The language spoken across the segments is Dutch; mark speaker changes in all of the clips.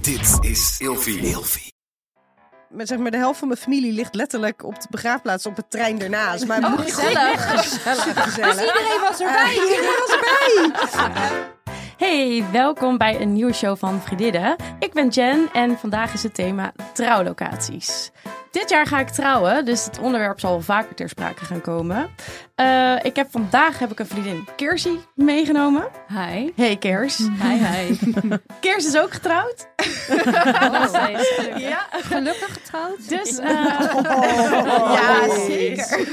Speaker 1: Dit is Ilfie.
Speaker 2: Met zeg maar de helft van mijn familie ligt letterlijk op de begraafplaats op het trein ernaast. Maar
Speaker 3: Oh, gezellig.
Speaker 2: Super gezellig. Eh,
Speaker 3: Iedereen was erbij.
Speaker 4: Hey, welkom bij een nieuwe show van Vriendinnen. Ik ben Jen en vandaag is het thema trouwlocaties. Dit jaar ga ik trouwen, dus het onderwerp zal wel vaker ter sprake gaan komen. Eh, ik heb vandaag heb ik een vriendin, Kersie, meegenomen.
Speaker 3: Hi. Mm.
Speaker 4: Hey Kers.
Speaker 3: Hi, hi. Oh,
Speaker 4: Kers is ook getrouwd.
Speaker 3: Ja. Gelukkig getrouwd.
Speaker 4: Dus, eh, Oh.
Speaker 2: Ja, zeker.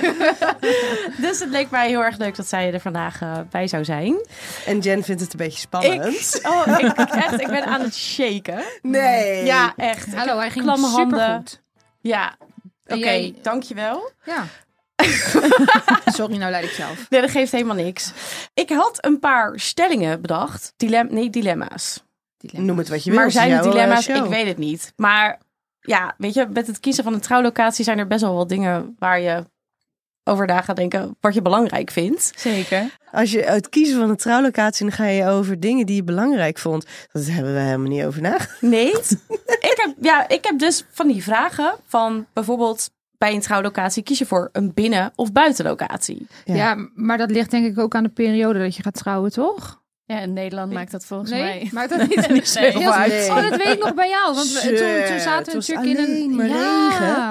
Speaker 4: dus het leek mij heel erg leuk dat zij er vandaag eh, bij zou zijn.
Speaker 2: En Jen vindt het een beetje spannend.
Speaker 4: oh, ik, echt, ik ben aan het shaken.
Speaker 2: Nee.
Speaker 4: Ja, echt. Ik
Speaker 3: Hallo, hij ging
Speaker 4: klamme handen.
Speaker 3: supergoed.
Speaker 4: Ja, oké,
Speaker 3: En jij-
Speaker 4: dankjewel.
Speaker 3: Ja. Sorry, nou leid ik zelf.
Speaker 4: Nee, dat geeft helemaal niks. Ik had een paar stellingen bedacht. Dilem nee, dilemma's.
Speaker 2: Noem het wat je wil.
Speaker 4: Maar zijn het
Speaker 2: het is jouw, eh,
Speaker 4: dilemma's?
Speaker 2: show.
Speaker 4: Ik weet het niet. Maar ja, weet je, met het kiezen van een trouwlocatie zijn er best wel wat dingen waar je over na gaat denken wat je belangrijk vindt.
Speaker 3: Zeker.
Speaker 2: Als je uit kiezen van een trouwlocatie, dan ga je over dingen die je belangrijk vond. Dat hebben we helemaal niet over nagedacht.
Speaker 4: Nee. ik, heb, ja, ik heb dus van die vragen van bijvoorbeeld bij een trouwlocatie kies je voor een binnen- of buitenlocatie.
Speaker 2: Ja.
Speaker 5: Ja. maar dat ligt denk ik ook aan de periode dat je gaat trouwen, toch?
Speaker 3: Ja, in Nederland maakt dat volgens
Speaker 5: nee,
Speaker 3: mij.
Speaker 5: maakt dat niet, niet
Speaker 3: Nee.
Speaker 5: heel
Speaker 2: uit.
Speaker 5: veel- Oh, dat weet ik nog bij jou, want we, toen, toen
Speaker 2: Shit,
Speaker 5: zaten we
Speaker 2: het was
Speaker 5: natuurlijk in
Speaker 2: alleen
Speaker 5: een
Speaker 2: maar
Speaker 5: ja.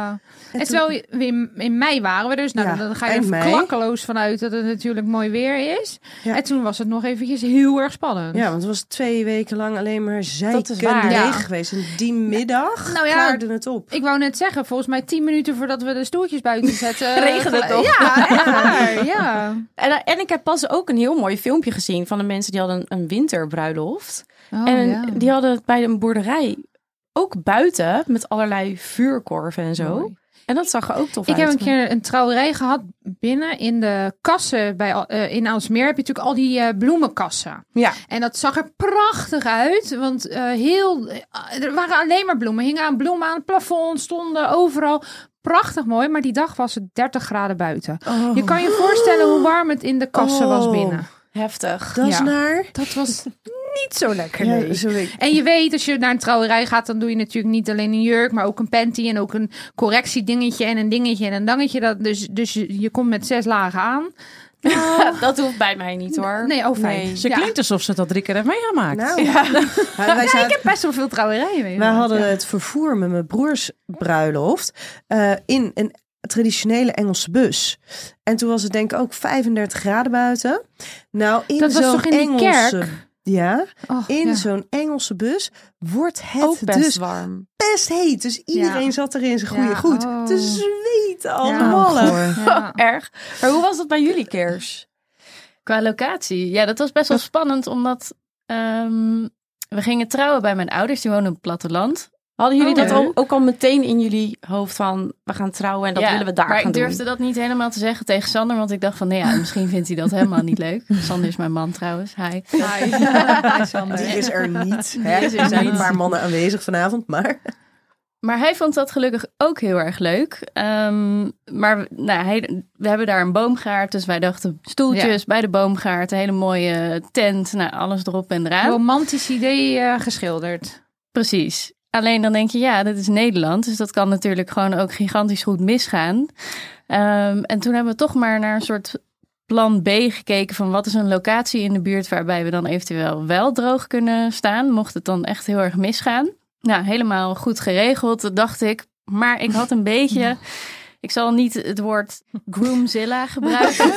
Speaker 2: regen.
Speaker 5: En, terwijl we in, in mei waren we dus, nou
Speaker 2: Ja,
Speaker 5: dan ga je er
Speaker 2: eind mei.
Speaker 5: klakkeloos vanuit dat het natuurlijk mooi weer is.
Speaker 2: Ja.
Speaker 5: En toen was het nog eventjes heel erg spannend.
Speaker 2: Ja, want het was twee weken lang alleen maar zeikende
Speaker 4: waar.
Speaker 2: leeg
Speaker 5: Ja.
Speaker 2: geweest. En die middag
Speaker 5: Nou ja.
Speaker 2: klaarde het op.
Speaker 5: Ik wou net zeggen, volgens mij tien minuten voordat we de stoeltjes buiten zetten. eh,
Speaker 4: Regende het toch?
Speaker 5: Ja, echt waar, ja.
Speaker 4: En, en ik heb pas ook een heel mooi filmpje gezien van de mensen die hadden een winterbruiloft.
Speaker 5: Oh,
Speaker 4: en
Speaker 5: ja.
Speaker 4: die hadden het bij een boerderij ook buiten met allerlei vuurkorven en zo.
Speaker 5: Mooi.
Speaker 4: En dat zag er ook tof
Speaker 5: Ik
Speaker 4: uit.
Speaker 5: heb een keer een trouwerij gehad binnen in de kassen bij Al- eh, in Aalsmeer heb je natuurlijk al die eh, bloemenkassen.
Speaker 4: Ja.
Speaker 5: En dat zag er prachtig uit, want eh, heel eh, er waren alleen maar bloemen, hingen aan bloemen aan het plafond, stonden overal prachtig mooi, maar die dag was het 30 graden buiten. Je kan je voorstellen hoe warm het in de kassen was
Speaker 2: Oh.
Speaker 5: binnen.
Speaker 4: Heftig.
Speaker 2: Dat is
Speaker 5: Ja.
Speaker 2: naar...
Speaker 5: Dat was niet zo lekker.
Speaker 2: Ja,
Speaker 5: nee.
Speaker 2: sorry.
Speaker 5: En je weet, als je naar een trouwerij gaat, dan doe je natuurlijk niet alleen een jurk, maar ook een panty en ook een correctiedingetje en een dingetje en een dangetje. Dat, dus dus je, je komt met zes lagen aan.
Speaker 4: Dat hoeft bij mij niet hoor.
Speaker 5: Nee, oh fijn.
Speaker 4: Nee.
Speaker 6: Ze
Speaker 5: Ja.
Speaker 6: klinkt alsof ze dat drie keer heeft meegemaakt.
Speaker 2: Nou, Maar wij zaten-
Speaker 5: Best wel veel trouwerijen mee.
Speaker 2: wij hadden het vervoer met mijn broers bruiloft eh, in een traditionele Engelse bus. En toen was het denk ik ook 35 graden buiten. Nou, in
Speaker 5: Dat was
Speaker 2: zo'n
Speaker 5: toch in die
Speaker 2: Engelse,
Speaker 5: kerk?
Speaker 2: Ja,
Speaker 5: Och,
Speaker 2: in
Speaker 5: Oh, ja.
Speaker 2: zo'n Engelse bus wordt het
Speaker 4: Ook best
Speaker 2: dus
Speaker 4: warm.
Speaker 2: best heet. Dus iedereen
Speaker 5: Ja.
Speaker 2: zat er in zijn goede
Speaker 5: Ja,
Speaker 2: goed
Speaker 5: oh.
Speaker 2: te zweten al
Speaker 5: Ja. Oh,
Speaker 2: de wallen.
Speaker 5: Ja.
Speaker 4: Oh, Erg. Maar hoe was dat bij jullie keers?
Speaker 3: Qua locatie. Nou. Ja, dat was best wel spannend, omdat ehm, we gingen trouwen bij mijn ouders. Die wonen op het platteland.
Speaker 4: Hadden jullie
Speaker 5: Oh,
Speaker 4: dat
Speaker 5: hè?
Speaker 4: al, ook al meteen in jullie hoofd van we gaan trouwen en dat
Speaker 3: Ja,
Speaker 4: willen we daar
Speaker 3: maar
Speaker 4: gaan
Speaker 3: ik durfde
Speaker 4: doen?
Speaker 3: dat niet helemaal te zeggen tegen Sander, want ik dacht van, nee, ja, misschien vindt hij dat helemaal niet leuk. Sander is mijn man trouwens. Hi.
Speaker 2: Die is er niet.
Speaker 3: Die
Speaker 2: Hè?
Speaker 3: is er
Speaker 2: Er zijn een
Speaker 3: niet.
Speaker 2: paar mannen aanwezig vanavond, maar...
Speaker 3: Maar hij vond dat gelukkig ook heel erg leuk. Ehm, maar we- nou, hij, we hebben daar een boomgaard, dus wij dachten stoeltjes bij de boomgaard, een hele mooie tent, nou, alles erop en eraan.
Speaker 5: Romantisch idee eh, geschilderd.
Speaker 3: Precies. Alleen dan denk je, ja, dit is Nederland, dus dat kan natuurlijk gewoon ook gigantisch goed misgaan. Ehm, en toen hebben we toch maar naar een soort plan B gekeken van wat is een locatie in de buurt waarbij we dan eventueel wel droog kunnen staan, mocht het dan echt heel erg misgaan. Nou, helemaal goed geregeld, dat dacht ik. Maar ik had een beetje, ik zal niet het woord groomzilla gebruiken,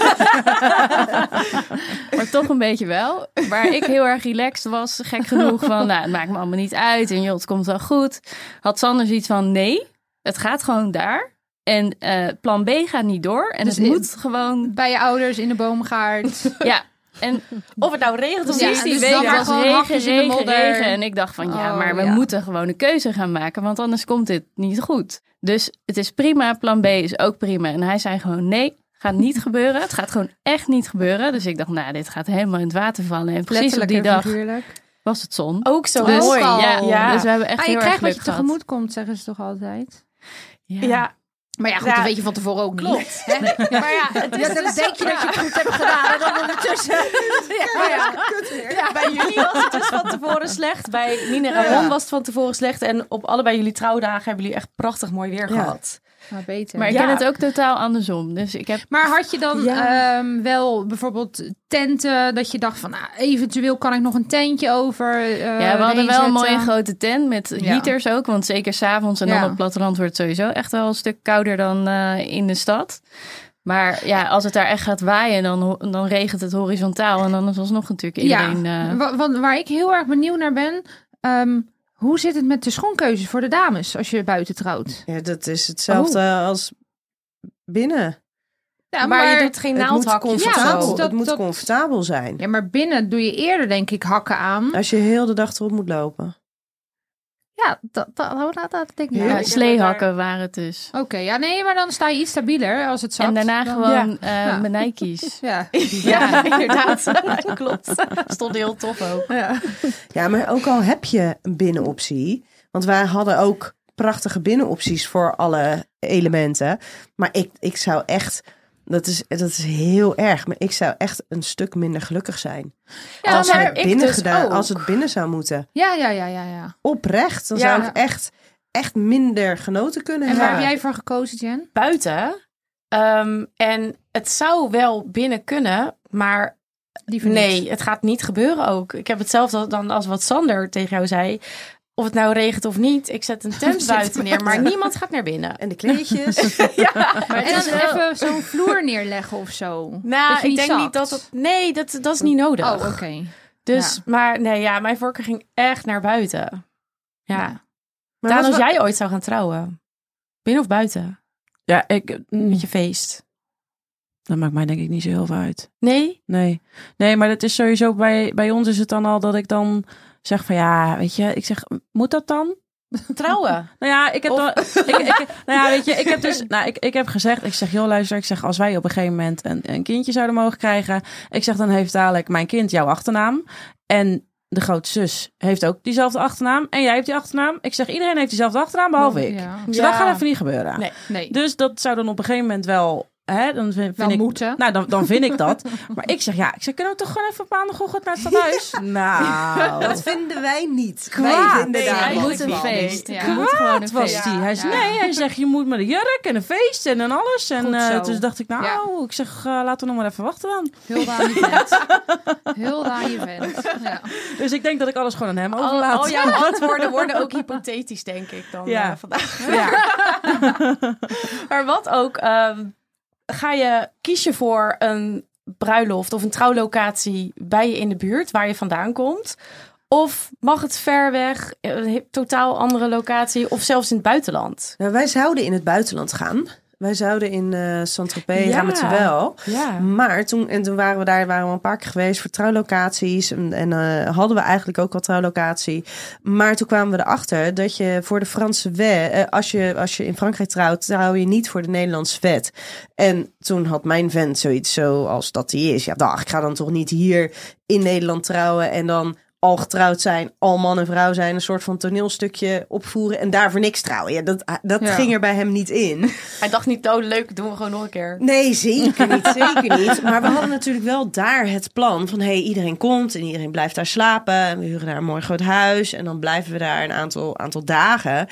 Speaker 3: maar toch een beetje wel. Waar ik heel erg relaxed was, gek genoeg van, nou, het maakt me allemaal niet uit en joh, het komt wel goed. Had Sander zoiets van, nee, het gaat gewoon daar. En eh, plan B gaat niet door. En
Speaker 5: Dus
Speaker 3: het
Speaker 5: in-
Speaker 3: moet gewoon
Speaker 5: Bij je ouders in de boomgaard.
Speaker 3: ja, en
Speaker 4: Of het nou regent of
Speaker 5: Ja,
Speaker 4: niet,
Speaker 5: dus
Speaker 4: die
Speaker 5: dat
Speaker 4: weet
Speaker 5: was
Speaker 4: ik.
Speaker 3: het was
Speaker 5: gewoon
Speaker 3: regen,
Speaker 5: hapjes in de
Speaker 3: regen,
Speaker 5: modder.
Speaker 3: regen. En ik dacht van, ja,
Speaker 5: Oh,
Speaker 3: maar we
Speaker 5: ja.
Speaker 3: moeten gewoon een keuze gaan maken. Want anders komt dit niet goed. Dus het is prima, plan B is ook prima. En hij zei gewoon, nee, gaat niet gebeuren. Het gaat gewoon echt niet gebeuren. Dus ik dacht, nou, dit gaat helemaal in het water vallen. En precies op
Speaker 5: Letterlijk
Speaker 3: die
Speaker 5: en
Speaker 3: dag
Speaker 5: figuurlijk.
Speaker 3: was het zon.
Speaker 4: Ook zo
Speaker 3: Dus-
Speaker 4: mooi.
Speaker 5: Ook al.
Speaker 4: Ja, ja.
Speaker 3: Dus we hebben echt
Speaker 5: Oh, Ah, je
Speaker 3: heel
Speaker 5: krijgt
Speaker 3: erg
Speaker 5: wat
Speaker 3: geluk
Speaker 5: je
Speaker 3: gehad.
Speaker 5: tegemoet komt, zeggen ze toch altijd.
Speaker 3: Ja.
Speaker 4: ja.
Speaker 5: Maar ja, goed,
Speaker 4: Ja.
Speaker 5: dat weet je van tevoren ook niet. Hè?
Speaker 4: Maar ja, het is
Speaker 5: Ja, dan denk je dat je het goed hebt gedaan en dan ondertussen... Ja, ja.
Speaker 4: bij jullie was het dus van tevoren slecht. Bij Nina en Ramon was het van tevoren slecht. En op allebei jullie trouwdagen hebben jullie echt prachtig mooi weer
Speaker 2: Ja.
Speaker 4: gehad.
Speaker 5: Maar beter.
Speaker 3: Maar ik
Speaker 4: Ja.
Speaker 3: ken het ook totaal andersom. Dus ik heb
Speaker 5: Maar had je dan
Speaker 4: Ja.
Speaker 5: ehm, wel bijvoorbeeld tenten dat je dacht van nou, eventueel kan ik nog een tentje over? eh,
Speaker 3: Ja, we hadden
Speaker 5: erheen
Speaker 3: wel een mooie
Speaker 5: zetten?
Speaker 3: grote tent met
Speaker 5: Ja.
Speaker 3: heaters ook. Want zeker s'avonds en
Speaker 5: Ja.
Speaker 3: dan op het platteland wordt het sowieso echt wel een stuk kouder dan eh, in de stad. Maar ja, als het daar echt gaat waaien, dan, ho- dan regent het horizontaal. En dan is alsnog natuurlijk iedereen...
Speaker 5: Ja,
Speaker 3: eh,
Speaker 5: wa- want waar ik heel erg benieuwd naar ben, ehm, hoe zit het met de schoenkeuze voor de dames als je buiten trouwt?
Speaker 2: Ja, dat is hetzelfde als binnen.
Speaker 5: Ja,
Speaker 4: maar, je doet geen
Speaker 2: het moet
Speaker 4: naaldhakjes of
Speaker 5: Ja, dus
Speaker 2: comfortabel,
Speaker 5: dat-
Speaker 4: zo.
Speaker 2: het moet
Speaker 5: dat-
Speaker 2: comfortabel zijn.
Speaker 5: ja, maar binnen doe je eerder denk ik hakken aan.
Speaker 2: Als je heel de dag erop moet lopen.
Speaker 5: Ja, dat, dat, oh, dat, dat denk ik.
Speaker 2: Ja.
Speaker 5: wel.
Speaker 3: ja,
Speaker 5: Oké,
Speaker 3: eh, sleehakken waren het dus.
Speaker 5: ja, nee, maar dan sta je iets stabieler als het zakt.
Speaker 3: En daarna
Speaker 5: Dan-
Speaker 3: gewoon eh
Speaker 5: Ja.
Speaker 3: mijn Nike's.
Speaker 5: Ja.
Speaker 4: Ja, inderdaad. Klopt.
Speaker 3: Stond heel tof ook.
Speaker 2: Ja, maar ook al heb je een binnenoptie. Want wij hadden ook prachtige binnenopties voor alle elementen. Maar ik, ik zou echt. Dat is, dat is heel erg. Maar ik zou echt een stuk minder gelukkig zijn.
Speaker 5: Ja,
Speaker 2: als,
Speaker 5: maar
Speaker 2: het
Speaker 5: ik
Speaker 2: binnen
Speaker 5: dus
Speaker 2: gedaan,
Speaker 5: ook.
Speaker 2: als het binnen zou moeten.
Speaker 5: ja, ja, ja, ja, ja.
Speaker 2: Oprecht. Dan
Speaker 4: Ja.
Speaker 2: zou ik echt, echt minder genoten kunnen
Speaker 5: En waar
Speaker 2: hebben.
Speaker 5: heb jij voor gekozen, Jen?
Speaker 4: Buiten. Ehm, en het zou wel binnen kunnen, maar
Speaker 5: Die van niks.
Speaker 4: Nee, het gaat niet gebeuren ook. Ik heb hetzelfde dan als wat Sander tegen jou zei. Of het nou regent of niet, ik zet een tent buiten neer, maar niemand gaat naar binnen.
Speaker 2: En de kleedjes.
Speaker 5: En dan even zo'n vloer neerleggen of zo. Dat
Speaker 4: Nou,
Speaker 5: je
Speaker 4: ik
Speaker 5: niet
Speaker 4: denk
Speaker 5: zakt.
Speaker 4: niet dat het. Nee, dat, dat is niet nodig.
Speaker 5: Oh, oké.
Speaker 4: Dus,
Speaker 5: ja.
Speaker 4: maar nee, ja, mijn voorkeur ging echt naar buiten. Ja.
Speaker 2: Maar
Speaker 4: Daan,
Speaker 2: wat
Speaker 4: als
Speaker 2: we-
Speaker 4: jij ooit zou gaan trouwen, binnen of buiten,
Speaker 6: Ja, ik, mm,
Speaker 4: met je feest?
Speaker 6: dat maakt mij denk ik niet zo heel veel uit.
Speaker 4: Nee?
Speaker 6: Nee, nee maar dat is sowieso bij, bij ons is het dan al dat ik dan zeg van ja, weet je, ik zeg, moet dat dan?
Speaker 4: Trouwen?
Speaker 6: Nou ja, ik heb
Speaker 4: Of-
Speaker 6: dan, ik, ik, nou ja, weet je, ik heb dus, nou, ik, ik heb gezegd, ik zeg, joh, luister, ik zeg, als wij op een gegeven moment een, een kindje zouden mogen krijgen, ik zeg, dan heeft dadelijk mijn kind jouw achternaam en de grootzus heeft ook diezelfde achternaam en jij hebt die achternaam. Ik zeg, iedereen heeft diezelfde achternaam behalve ik.
Speaker 5: Ja.
Speaker 6: Dus dat
Speaker 4: Ja.
Speaker 6: gaat even niet gebeuren.
Speaker 4: Nee.
Speaker 5: Nee.
Speaker 6: Dus dat zou dan op een gegeven moment wel, hè, dan vind, vind
Speaker 5: Wel
Speaker 6: ik,
Speaker 5: moeten.
Speaker 6: nou, dan, dan vind ik dat. Maar ik zeg, ja, ik zeg, kunnen we toch gewoon even op maandagochtend naar het stadhuis?
Speaker 5: Ah.
Speaker 6: Nou,
Speaker 2: Dat vinden wij niet.
Speaker 6: Kwaad.
Speaker 2: Wij vinden
Speaker 4: Nee,
Speaker 2: daar
Speaker 4: hij
Speaker 2: wat
Speaker 4: moet
Speaker 2: van.
Speaker 4: een
Speaker 6: Nou,
Speaker 4: feest.
Speaker 5: Ja.
Speaker 3: Je moet gewoon een
Speaker 6: Wat was
Speaker 3: feest.
Speaker 6: die? Hij zei,
Speaker 5: ja.
Speaker 6: nee, hij zegt, je moet met een jurk en een feest en, en alles. En
Speaker 5: Goed
Speaker 6: eh,
Speaker 5: zo.
Speaker 6: dus dacht ik, nou,
Speaker 5: Ja.
Speaker 6: ik zeg, eh, laten we nog maar even wachten dan.
Speaker 5: Hulda aan je vent. Hulda aan je vent. Ja.
Speaker 6: Dus ik denk dat ik alles gewoon aan hem
Speaker 5: Oh,
Speaker 4: Al,
Speaker 6: overlaat.
Speaker 4: al jouw oh antwoorden worden ook hypothetisch, denk ik, dan
Speaker 6: Ja.
Speaker 4: eh, vandaag.
Speaker 6: Ja.
Speaker 4: Maar wat ook, ehm, ga je kiezen voor een bruiloft of een trouwlocatie bij je in de buurt waar je vandaan komt? Of mag het ver weg, een he- totaal andere locatie of zelfs in het buitenland?
Speaker 2: Nou, wij zouden in het buitenland gaan. Wij zouden in eh Saint-Tropez
Speaker 4: Ja.
Speaker 2: gaan met wel.
Speaker 4: Ja.
Speaker 2: Maar toen, en toen waren we daar waren we een paar keer geweest voor trouwlocaties. En, en eh, hadden we eigenlijk ook al trouwlocatie. Maar toen kwamen we erachter dat je voor de Franse wet... eh, als, je, als je in Frankrijk trouwt, trouw je niet voor de Nederlandse wet. En toen had mijn vent zoiets zoals dat hij is. Ja, dag, ik ga dan toch niet hier in Nederland trouwen en dan al getrouwd zijn, al man en vrouw zijn, een soort van toneelstukje opvoeren en daar voor niks trouwen. Ja, dat ah, dat
Speaker 5: Ja.
Speaker 2: ging er bij hem niet in.
Speaker 4: Hij dacht niet, oh leuk, doen we gewoon nog een keer.
Speaker 2: Nee, zeker niet, zeker niet. Maar we hadden natuurlijk wel daar het plan van... hey, iedereen komt en iedereen blijft daar slapen. En we huren daar een mooi groot huis. En dan blijven we daar een aantal, aantal dagen.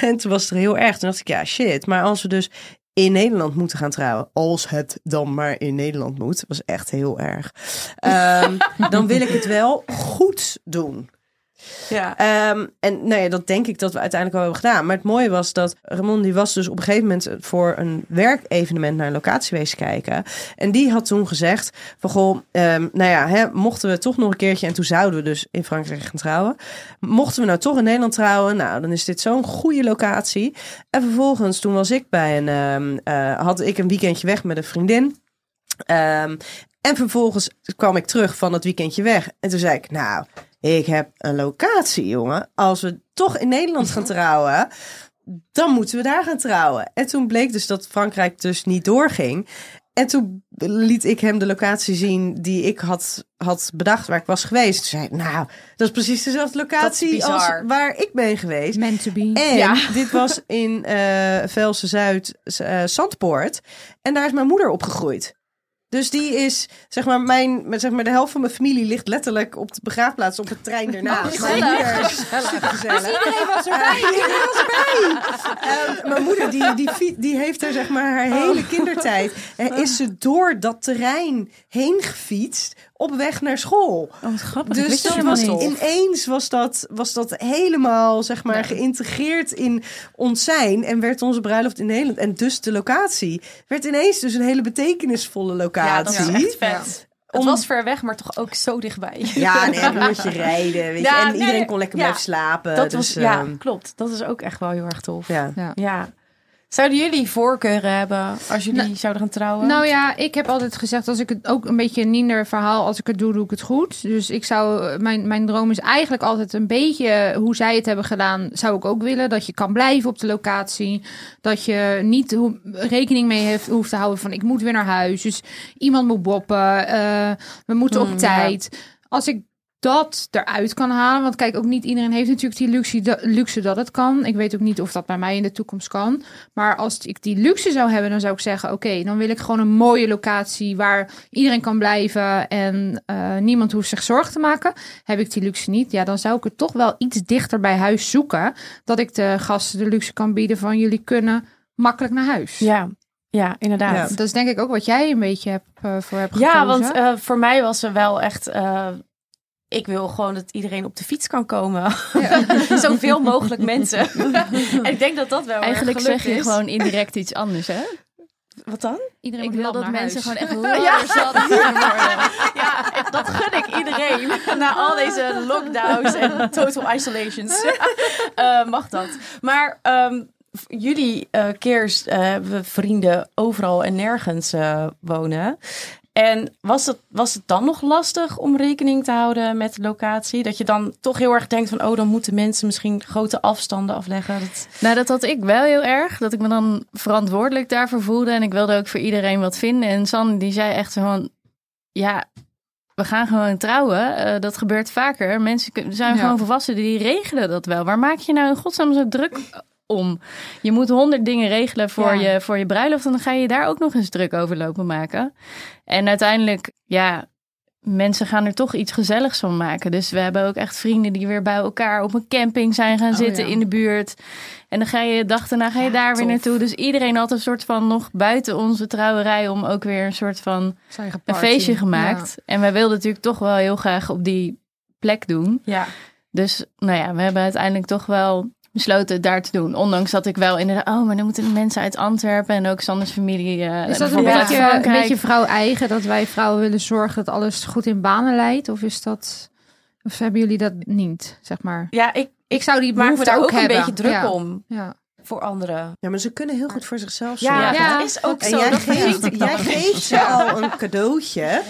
Speaker 2: En toen was het er heel erg. Toen dacht ik, ja, shit. Maar als we dus in Nederland moeten gaan trouwen... als het dan maar in Nederland moet... was echt heel erg. ehm, dan wil ik het wel goed doen.
Speaker 4: Ja.
Speaker 2: Ehm, en nou ja, dat denk ik dat we uiteindelijk wel hebben gedaan. Maar het mooie was dat Ramon die was dus op een gegeven moment voor een werkevenement naar een locatie geweest kijken. En die had toen gezegd van goh, ehm, nou ja, hè, mochten we toch nog een keertje en toen zouden we dus in Frankrijk gaan trouwen. Mochten we nou toch in Nederland trouwen, nou dan is dit zo'n goede locatie. En vervolgens toen was ik bij een, ehm, eh, had ik een weekendje weg met een vriendin. Ehm, en vervolgens kwam ik terug van dat weekendje weg. En toen zei ik, nou, ik heb een locatie, jongen. Als we toch in Nederland gaan trouwen, dan moeten we daar gaan trouwen. En toen bleek dus dat Frankrijk dus niet doorging. En toen liet ik hem de locatie zien die ik had, had bedacht waar ik was geweest. Toen zei hij, nou, dat is precies dezelfde locatie als
Speaker 4: bizar.
Speaker 2: waar ik ben geweest.
Speaker 5: Meant to be.
Speaker 2: En dit was in eh Velse Zuid, eh, Zandpoort. En daar is mijn moeder opgegroeid. Dus die is, zeg maar, mijn, met, zeg maar, de helft van mijn familie ligt letterlijk op de begraafplaats op het trein
Speaker 5: Oh,
Speaker 2: ernaast.
Speaker 4: gezellig.
Speaker 2: Mijn moeder is supergezellig.
Speaker 5: Iedereen was erbij.
Speaker 2: Eh, mijn moeder, die, die, fi- die heeft er zeg maar
Speaker 4: Oh.
Speaker 2: haar hele kindertijd. eh, is ze door dat terrein heen gefietst op weg naar school.
Speaker 6: Oh, wat grappig. Ik
Speaker 2: Dus
Speaker 6: wist dat
Speaker 2: dat
Speaker 6: helemaal
Speaker 2: was
Speaker 6: niet.
Speaker 2: ineens was dat, was dat helemaal zeg maar, geïntegreerd in ons zijn. En werd onze bruiloft in Nederland. En dus de locatie. Werd ineens dus een hele betekenisvolle locatie.
Speaker 4: Ja, dat is echt vet. Het
Speaker 2: Om-
Speaker 4: was ver weg, maar toch ook zo dichtbij.
Speaker 2: Ja, nee, een uurtje rijden. Weet je.
Speaker 4: Ja,
Speaker 2: en
Speaker 4: nee,
Speaker 2: iedereen kon lekker
Speaker 4: ja.
Speaker 2: blijven slapen.
Speaker 4: dat was,
Speaker 2: dus,
Speaker 4: ja,
Speaker 2: ehm,
Speaker 4: klopt. Dat is ook echt wel heel erg tof.
Speaker 2: ja.
Speaker 4: Ja. Zouden jullie voorkeuren hebben als jullie zouden gaan trouwen?
Speaker 5: Nou ja, ik heb altijd gezegd, als ik het ook een beetje een ninder verhaal, als ik het doe, doe ik het goed. Dus ik zou, mijn, mijn droom is eigenlijk altijd een beetje hoe zij het hebben gedaan, zou ik ook willen. Dat je kan blijven op de locatie. Dat je niet hoe- rekening mee heeft, hoeft te houden van ik moet weer naar huis. Dus iemand moet boppen. eh, we moeten op tijd. Als ik dat eruit kan halen. Want kijk, ook niet iedereen heeft natuurlijk die luxe, da- luxe dat het kan. Ik weet ook niet of dat bij mij in de toekomst kan. Maar als ik die luxe zou hebben, dan zou ik zeggen... oké, dan wil ik gewoon een mooie locatie... waar iedereen kan blijven en eh, niemand hoeft zich zorgen te maken. Heb ik die luxe niet, ja, dan zou ik het toch wel iets dichter bij huis zoeken... dat ik de gasten de luxe kan bieden van jullie kunnen makkelijk naar huis.
Speaker 4: Ja, ja inderdaad.
Speaker 2: Ja.
Speaker 5: Dat is denk ik ook wat jij een beetje hebt, eh, voor hebt gekozen.
Speaker 4: Ja, want eh, voor mij was er wel echt. eh, ik wil gewoon dat iedereen op de fiets kan komen. Zoveel mogelijk mensen. en ik denk dat dat wel.
Speaker 3: Eigenlijk
Speaker 4: erg geluk
Speaker 3: zeg je
Speaker 4: is.
Speaker 3: gewoon indirect iets anders, hè?
Speaker 4: Wat dan?
Speaker 5: iedereen
Speaker 3: Ik
Speaker 5: moet
Speaker 3: wil
Speaker 5: wel
Speaker 3: dat
Speaker 5: naar
Speaker 3: mensen
Speaker 5: huis.
Speaker 3: gewoon echt langer zat moeten worden.
Speaker 4: Ja, dat gun ik iedereen. Na al deze lockdowns en total isolations. Eh, mag dat. Maar ehm, v- jullie eh keers eh, hebben vrienden overal en nergens eh, wonen. En was het, was het dan nog lastig om rekening te houden met de locatie? Dat je dan toch heel erg denkt van... oh, dan moeten mensen misschien grote afstanden afleggen. Dat...
Speaker 3: Nou, dat had ik wel heel erg. Dat ik me dan verantwoordelijk daarvoor voelde. En ik wilde ook voor iedereen wat vinden. En San, die zei echt gewoon... Ja, we gaan gewoon trouwen. Eh, dat gebeurt vaker. Mensen kun- zijn
Speaker 5: Ja.
Speaker 3: gewoon volwassenen. Die regelen dat wel. Waar maak je nou in godsnaam zo druk om? Je moet honderd dingen regelen voor,
Speaker 4: Ja.
Speaker 3: je, voor je bruiloft. En dan ga je daar ook nog eens druk over lopen maken. En uiteindelijk, ja... Mensen gaan er toch iets gezelligs van maken. Dus we hebben ook echt vrienden die weer bij elkaar op een camping zijn gaan
Speaker 5: Oh,
Speaker 3: zitten
Speaker 5: ja.
Speaker 3: in de buurt. En dan ga je de dag daarna ga je daar weer
Speaker 4: tof.
Speaker 3: naartoe. Dus iedereen had een soort van nog buiten onze trouwerij om ook weer een soort van
Speaker 5: Zijn eigen
Speaker 3: een
Speaker 5: party.
Speaker 3: feestje
Speaker 5: Ja.
Speaker 3: gemaakt. En wij wilden natuurlijk toch wel heel graag op die plek doen.
Speaker 4: Ja.
Speaker 3: Dus nou ja, we hebben uiteindelijk toch wel besloten het daar te doen. Ondanks dat ik wel inderdaad, oh, maar dan moeten de mensen uit Antwerpen en ook Sanders familie. eh,
Speaker 5: Is dat een
Speaker 3: bijvoorbeeld uit
Speaker 5: beetje, een
Speaker 3: Frankrijk.
Speaker 5: beetje vrouw-eigen dat wij vrouwen willen zorgen dat alles goed in banen leidt? Of is dat. Of hebben jullie dat niet, zeg maar?
Speaker 4: Ja, ik,
Speaker 5: Ik zou die
Speaker 4: maak me
Speaker 5: behoefte
Speaker 4: daar ook,
Speaker 5: ook
Speaker 4: een
Speaker 5: hebben.
Speaker 4: beetje druk
Speaker 5: Ja.
Speaker 4: om.
Speaker 5: Ja.
Speaker 4: Voor anderen.
Speaker 2: ja, maar ze kunnen heel goed voor zichzelf zorgen.
Speaker 4: Ja,
Speaker 5: Ja,
Speaker 4: dat is ook
Speaker 2: En
Speaker 4: zo.
Speaker 2: jij
Speaker 4: dat
Speaker 2: geeft,
Speaker 4: vind ik
Speaker 2: jij
Speaker 4: dan.
Speaker 2: geeft ze al een cadeautje.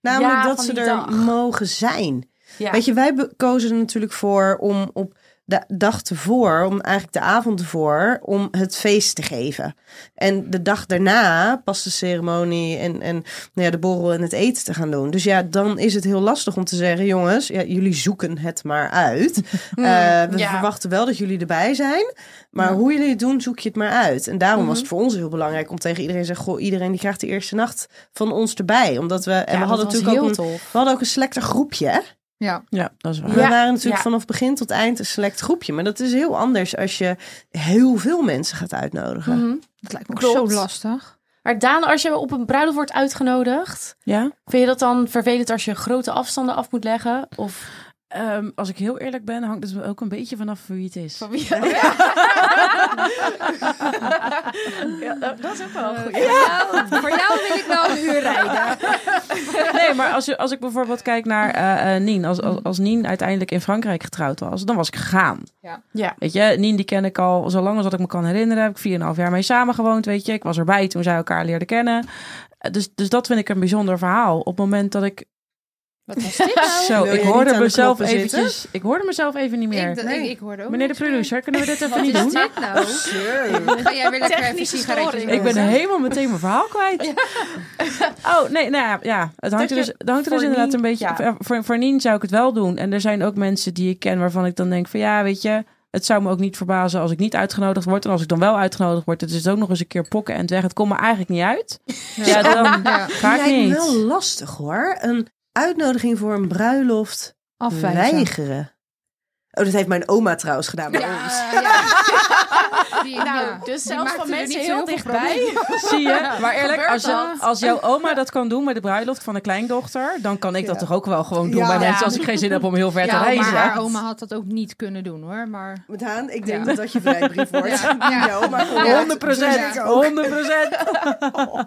Speaker 2: Namelijk
Speaker 4: Ja,
Speaker 2: dat
Speaker 4: van
Speaker 2: ze
Speaker 4: die
Speaker 2: er
Speaker 4: dag.
Speaker 2: mogen zijn.
Speaker 4: Ja.
Speaker 2: Weet je, wij be- kozen er natuurlijk voor om op de dag tevoor, om eigenlijk de avond ervoor, om het feest te geven. En de dag daarna pas de ceremonie en, en nou ja, de borrel en het eten te gaan doen. Dus ja, dan is het heel lastig om te zeggen, jongens, ja, jullie zoeken het maar uit. Eh, we
Speaker 4: Hmm, ja.
Speaker 2: verwachten wel dat jullie erbij zijn, maar hoe jullie het doen, zoek je het maar uit. En daarom
Speaker 4: Mhm.
Speaker 2: was het voor ons heel belangrijk om tegen iedereen te zeggen, goh, iedereen die krijgt de eerste nacht van ons erbij. Omdat we, en
Speaker 4: Ja,
Speaker 2: we hadden
Speaker 4: dat was
Speaker 2: natuurlijk ook een,
Speaker 4: heel tof.
Speaker 2: we hadden ook een selecter groepje. Hè?
Speaker 5: ja.
Speaker 6: Ja, dat is waar.
Speaker 2: We
Speaker 4: Ja,
Speaker 2: waren natuurlijk
Speaker 4: ja.
Speaker 2: vanaf begin tot eind een select groepje. Maar dat is heel anders als je heel veel mensen gaat uitnodigen.
Speaker 5: Dat lijkt me ook
Speaker 4: Klopt.
Speaker 5: zo lastig.
Speaker 4: Maar Daan, als je op een bruiloft wordt uitgenodigd,
Speaker 6: Ja?
Speaker 4: vind je dat dan vervelend als je grote afstanden af moet leggen? Of
Speaker 6: Ehm, als ik heel eerlijk ben, hangt het ook een beetje vanaf wie het is.
Speaker 4: wie? dat is ook wel een goeie.
Speaker 5: voor jou wil ik wel een uur rijden.
Speaker 6: Nee, maar als, je, als ik bijvoorbeeld kijk naar eh, eh, Nien. Als, als, als Nien uiteindelijk in Frankrijk getrouwd was, dan was ik gegaan.
Speaker 5: Ja.
Speaker 4: Ja.
Speaker 6: Weet je, Nien die ken ik al zo lang als dat ik me kan herinneren. Heb ik 4,5 jaar mee samengewoond, weet je. Ik was erbij toen zij elkaar leerden kennen. Eh, Dus, dus dat vind ik een bijzonder verhaal. Op het moment dat ik
Speaker 5: Wat was dit nou?
Speaker 6: Zo,
Speaker 2: Wil je
Speaker 6: ik
Speaker 2: niet
Speaker 6: hoorde
Speaker 2: aan de
Speaker 6: mezelf
Speaker 2: knoppen zitten?
Speaker 6: eventjes. Ik hoorde mezelf even niet meer.
Speaker 5: ik, ik, ik hoorde ook
Speaker 6: Meneer de
Speaker 5: niks
Speaker 6: producer, kunnen we dit
Speaker 5: meer.
Speaker 6: even
Speaker 5: Wat is
Speaker 6: niet doen?
Speaker 5: dit nou? Dan Ga jij weer lekker even
Speaker 4: Technische
Speaker 5: sigaretjes
Speaker 4: storing.
Speaker 5: roken.
Speaker 6: Ik ben helemaal meteen mijn verhaal kwijt. Oh, nee, nou ja, ja. het hangt er
Speaker 4: je
Speaker 6: dus, het hangt er dus
Speaker 4: voor
Speaker 6: inderdaad een
Speaker 4: Nien-
Speaker 6: beetje...
Speaker 4: ja.
Speaker 6: eh, Voor, voor Nien zou ik het wel doen. En er zijn ook mensen die ik ken waarvan ik dan denk van... Ja, weet je, het zou me ook niet verbazen als ik niet uitgenodigd word. En als ik dan wel uitgenodigd word, het is ook nog eens een keer pokken en het weg. Het komt me eigenlijk niet uit. Ja, dan
Speaker 5: Ja.
Speaker 6: ga ik
Speaker 2: lijkt me wel
Speaker 6: niet.
Speaker 2: lastig hoor. Een uitnodiging voor een bruiloft
Speaker 5: Afwijzen.
Speaker 2: weigeren. Oh, dat heeft mijn oma trouwens gedaan bij
Speaker 5: Ja,
Speaker 2: ons.
Speaker 5: ja. Die-
Speaker 4: Nou,
Speaker 5: ja.
Speaker 4: dus
Speaker 5: Die
Speaker 4: zelfs
Speaker 5: maakte
Speaker 4: van
Speaker 5: er
Speaker 4: mensen
Speaker 5: niet
Speaker 4: heel
Speaker 5: zoveel
Speaker 4: dichtbij.
Speaker 6: Zie je? Maar eerlijk,
Speaker 4: Gebeurt
Speaker 6: als,
Speaker 4: dat?
Speaker 6: als jouw oma dat kan doen met de bruiloft van een kleindochter... dan kan ik dat
Speaker 2: Ja.
Speaker 6: toch ook wel gewoon doen
Speaker 2: Ja.
Speaker 6: bij mensen...
Speaker 5: Ja.
Speaker 6: als ik geen zin heb om heel ver te
Speaker 5: Ja,
Speaker 6: reizen.
Speaker 5: maar haar oma had dat ook niet kunnen doen hoor. Maar
Speaker 2: Met Haan, ik denk
Speaker 5: Ja.
Speaker 2: dat dat je vrijbrief wordt.
Speaker 5: Ja. Ja.
Speaker 2: Ja, maar
Speaker 5: Ja.
Speaker 6: 100 procent,
Speaker 2: Ja.
Speaker 6: 100 procent.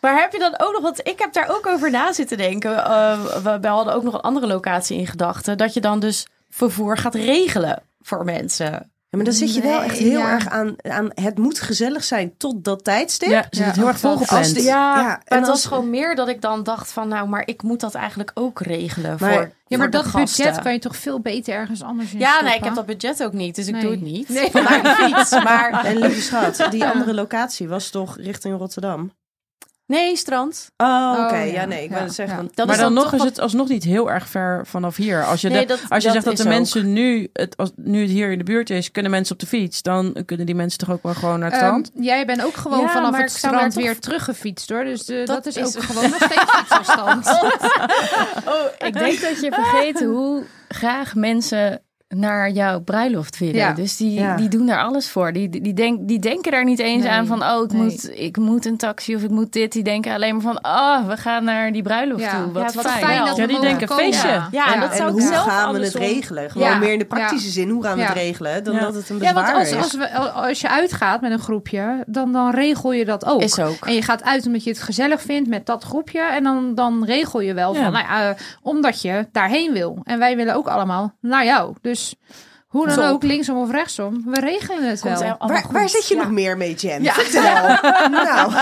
Speaker 4: Maar heb je dan ook nog, want ik heb daar ook over na zitten denken. Eh, we, we hadden ook nog een andere locatie in gedachten. Dat je dan dus vervoer gaat regelen voor mensen.
Speaker 2: Ja, maar dan zit je wel echt
Speaker 5: Nee,
Speaker 2: heel
Speaker 5: ja.
Speaker 2: erg aan, aan het moet gezellig zijn tot dat tijdstip. Dus
Speaker 6: Ja, ze zit heel erg
Speaker 5: ook dat.
Speaker 6: volgepland.
Speaker 2: Als de-
Speaker 4: Ja,
Speaker 2: Ja,
Speaker 4: maar
Speaker 2: en als-
Speaker 4: het was gewoon meer dat ik dan dacht van... nou, maar ik moet dat eigenlijk ook regelen
Speaker 2: Maar-
Speaker 4: voor
Speaker 5: Ja,
Speaker 4: voor
Speaker 5: maar
Speaker 4: de
Speaker 5: dat
Speaker 4: gasten.
Speaker 5: budget kan je toch veel beter ergens anders in
Speaker 4: Ja, nee, ik
Speaker 5: stoppen?
Speaker 4: heb dat budget ook niet, dus ik
Speaker 5: Nee.
Speaker 4: doe het niet.
Speaker 5: Nee.
Speaker 4: Vandaar de fiets, maar...
Speaker 2: En lieve schat, die andere locatie was toch richting Rotterdam?
Speaker 4: Nee, strand.
Speaker 2: Oh, oké.
Speaker 5: ja.
Speaker 2: ja. nee, ik
Speaker 5: Ja,
Speaker 2: wou net zeggen.
Speaker 5: ja.
Speaker 2: want-
Speaker 4: Dat
Speaker 6: maar
Speaker 4: is
Speaker 6: dan, nog
Speaker 4: toch
Speaker 6: is
Speaker 4: wat-
Speaker 6: het alsnog niet heel erg ver vanaf hier. Als je,
Speaker 4: Nee,
Speaker 6: de-
Speaker 4: dat-
Speaker 6: als je
Speaker 4: dat
Speaker 6: zegt dat de
Speaker 4: is ook.
Speaker 6: mensen nu het, als, nu het hier in de buurt is, kunnen mensen op de fiets. Dan kunnen die mensen toch ook wel gewoon naar het strand.
Speaker 5: Ehm, jij bent ook gewoon
Speaker 4: Ja,
Speaker 5: vanaf
Speaker 4: maar
Speaker 5: het
Speaker 4: ik zou daar
Speaker 5: strand
Speaker 4: toch-
Speaker 5: weer teruggefietst hoor. Dus de- dat,
Speaker 4: Dat
Speaker 5: is,
Speaker 4: is-
Speaker 5: ook gewoon nog steeds fietsafstand.
Speaker 3: Ik denk dat je vergeet hoe graag mensen naar jouw bruiloft willen.
Speaker 5: Ja.
Speaker 3: Dus die,
Speaker 2: Ja.
Speaker 3: die doen daar alles voor. Die, die, denk, die denken daar niet eens
Speaker 5: Nee,
Speaker 3: aan van... oh, ik,
Speaker 5: nee.
Speaker 3: moet, ik moet een taxi of ik moet dit. Die denken alleen maar van... oh, we gaan naar die bruiloft
Speaker 5: Ja.
Speaker 3: toe. Wat
Speaker 4: Ja, wat
Speaker 3: fijn.
Speaker 4: fijn
Speaker 5: dat we
Speaker 6: Ja, die
Speaker 5: mogen
Speaker 6: denken
Speaker 5: komen.
Speaker 6: feestje. Ja,
Speaker 4: Ja, en dat
Speaker 2: en
Speaker 4: zou ik
Speaker 2: hoe
Speaker 4: zelf
Speaker 2: gaan we het
Speaker 4: andersom-
Speaker 2: regelen? Gewoon
Speaker 5: Ja.
Speaker 2: meer in de praktische zin. Hoe gaan we
Speaker 5: Ja.
Speaker 2: het regelen? Dan
Speaker 6: Ja.
Speaker 2: dat het een
Speaker 5: Ja,
Speaker 2: bezwaar
Speaker 5: want als,
Speaker 2: is.
Speaker 5: als, we, als je uitgaat met een groepje, dan, dan regel je dat ook.
Speaker 4: Is ook.
Speaker 5: En je gaat uit omdat je het gezellig vindt met dat groepje. En dan, dan regel je wel
Speaker 6: Ja.
Speaker 5: van, nou ja, eh, omdat je daarheen wil. En wij willen ook allemaal naar jou. Dus hoe dan
Speaker 4: Zo.
Speaker 5: ook, linksom of rechtsom, we regelen het
Speaker 4: Komt
Speaker 5: wel.
Speaker 4: allemaal
Speaker 2: waar,
Speaker 4: goed.
Speaker 2: waar zit je
Speaker 4: Ja.
Speaker 2: nog meer mee, Jen? Vertel. Nou,